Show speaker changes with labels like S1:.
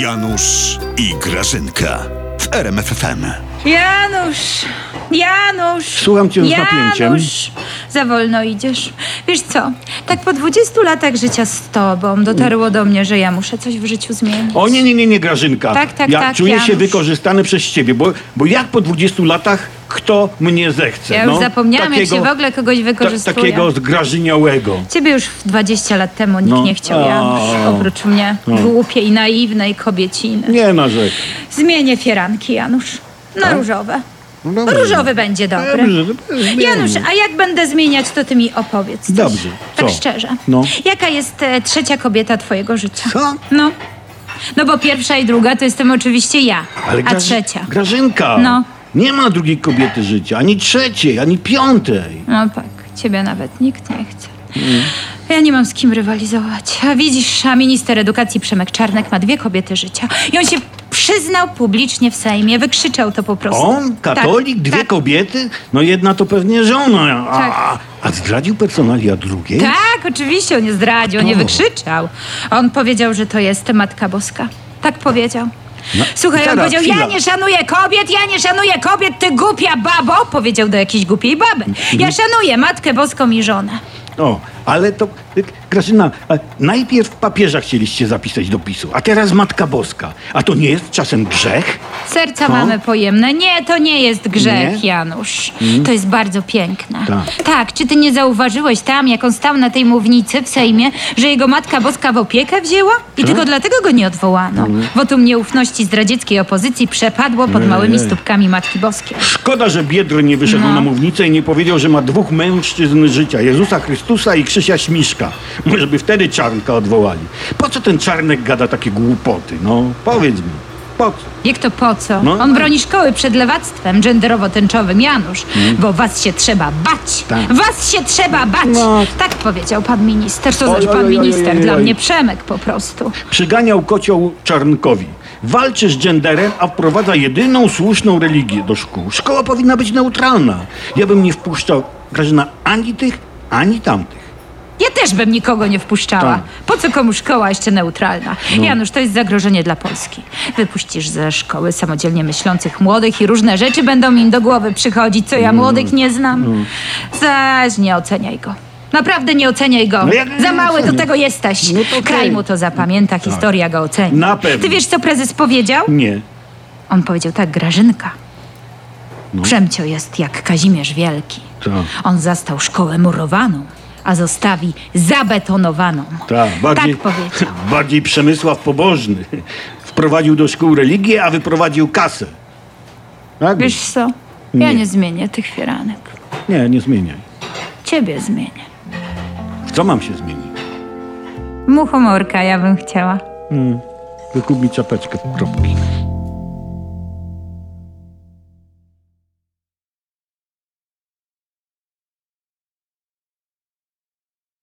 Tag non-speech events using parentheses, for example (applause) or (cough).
S1: Janusz i Grażynka w RMFFM.
S2: Janusz! Janusz!
S3: Słucham cię z
S2: Janusz!
S3: napięciem.
S2: Za wolno idziesz. Wiesz co, tak po 20 latach życia z tobą dotarło do mnie, że ja muszę coś w życiu zmienić.
S3: O nie, nie, nie, nie, Grażynka.
S2: Tak, tak,
S3: ja
S2: tak,
S3: czuję
S2: Janusz.
S3: się wykorzystany przez ciebie, bo, bo jak po 20 latach kto mnie zechce?
S2: Ja już
S3: no?
S2: zapomniałam,
S3: takiego,
S2: jak się w ogóle kogoś
S3: ta,
S2: wykorzystuje.
S3: Takiego zgrażyniałego.
S2: Ciebie już w 20 lat temu nikt
S3: No.
S2: nie chciał,
S3: O.
S2: Janusz. Oprócz mnie, głupiej, naiwnej kobieciny.
S3: Nie narzekam.
S2: Zmienię fieranki, Janusz. Na różowe.
S3: No dobra.
S2: Różowy będzie dobry.
S3: Dobrze, to jest zmienny.
S2: Janusz, a jak będę zmieniać, to ty mi opowiedz. Coś.
S3: Dobrze,
S2: Tak
S3: co?
S2: szczerze.
S3: No.
S2: Jaka jest e, trzecia kobieta twojego życia?
S3: Co?
S2: No. No bo pierwsza i druga to jestem oczywiście ja.
S3: Ale
S2: a
S3: Graży-
S2: trzecia.
S3: Grażynka.
S2: No.
S3: Nie ma drugiej kobiety życia, ani trzeciej, ani piątej.
S2: No tak, ciebie nawet nikt nie chce.
S3: Mm.
S2: Ja nie mam z kim rywalizować. A widzisz, a minister edukacji Przemek Czarnek ma dwie kobiety życia. I on się przyznał publicznie w Sejmie, wykrzyczał to po prostu.
S3: On, katolik,
S2: tak,
S3: dwie
S2: tak,
S3: kobiety? No jedna to pewnie żona, a,
S2: Tak.
S3: a, a zdradził personalia drugiej?
S2: Tak, oczywiście, on nie zdradził, on nie wykrzyczał. On powiedział, że to jest Matka Boska. Tak powiedział. Słuchaj, on
S3: zaraz,
S2: powiedział, ja
S3: chwila.
S2: nie szanuję kobiet, ja nie szanuję kobiet, ty głupia babo, powiedział do jakiejś głupiej baby. Ja szanuję Matkę Boską i żonę.
S3: O, ale to, y, Grażyna, a najpierw papieża chcieliście zapisać do PiSu, a teraz Matka Boska. A to nie jest czasem grzech?
S2: Serca
S3: Co?
S2: mamy pojemne. Nie, to nie jest grzech,
S3: Nie? Mm.
S2: Janusz. To jest bardzo piękne.
S3: Tak.
S2: czy ty nie zauważyłeś tam, jak on stał na tej mównicy w Sejmie, że jego matka boska w opiekę wzięła?
S3: Tak.
S2: I tylko dlatego go nie odwołano.
S3: Mm.
S2: Wotum nieufności zdradzieckiej opozycji przepadło pod małymi stópkami Matki Boskiej.
S3: Szkoda, że Biedroń nie wyszedł na mównicę i nie powiedział, że ma dwóch mężczyzn życia. Jezusa Chrystusa i Krzysia Śmiszka. Może by wtedy Czarnka odwołali. Po co ten Czarnek gada takie głupoty, no? Powiedz mi, po co?
S2: Jak to po co?
S3: No.
S2: On broni szkoły przed lewactwem genderowo-tęczowym, Janusz. Bo was się trzeba bać.
S3: Mm. Tak.
S2: Was się trzeba bać.
S3: No.
S2: Tak powiedział pan minister. Co
S3: Oj,
S2: zaś
S3: oj,
S2: pan
S3: oj, oj,
S2: minister?
S3: oj,
S2: Dla
S3: oj.
S2: mnie Przemek po prostu.
S3: Przyganiał kocioł Czarnkowi. Walczy z genderem, a wprowadza jedyną słuszną religię do szkół. Szkoła powinna być neutralna. Ja bym nie wpuszczał, Grażyna, ani tych, ani tamtych.
S2: Ja też bym nikogo nie wpuszczała.
S3: Tak. No.
S2: Po co komu szkoła jeszcze neutralna? Janusz, to jest zagrożenie dla Polski. Wypuścisz ze szkoły samodzielnie myślących młodych i różne rzeczy będą im do głowy przychodzić, co ja
S3: Mm.
S2: młodych nie znam. Zaś nie oceniaj go. Naprawdę nie oceniaj go.
S3: No jak-
S2: Za mały do tego jesteś.
S3: No to okej. Tak.
S2: Kraj mu to zapamięta, historia go oceni.
S3: Na pewno. Mm.
S2: Ty wiesz, co prezes powiedział?
S3: Nie.
S2: On powiedział tak, Grażynka.
S3: No.
S2: Przemcio jest jak Kazimierz Wielki.
S3: Tak.
S2: On zastał szkołę murowaną, a zostawi zabetonowaną.
S3: Tak, bardziej,
S2: tak powiedział.
S3: (laughs) bardziej Przemysław Pobożny. Wprowadził do szkół religię, a wyprowadził kasę. Tak?
S2: Wiesz co? Ja nie,
S3: Nie.
S2: zmienię tych fieranek.
S3: Nie, nie zmieniaj.
S2: Ciebie zmienię.
S3: W co mam się zmienić?
S2: Muchomorka ja bym chciała.
S3: Wykup mi czapeczkę w kropki.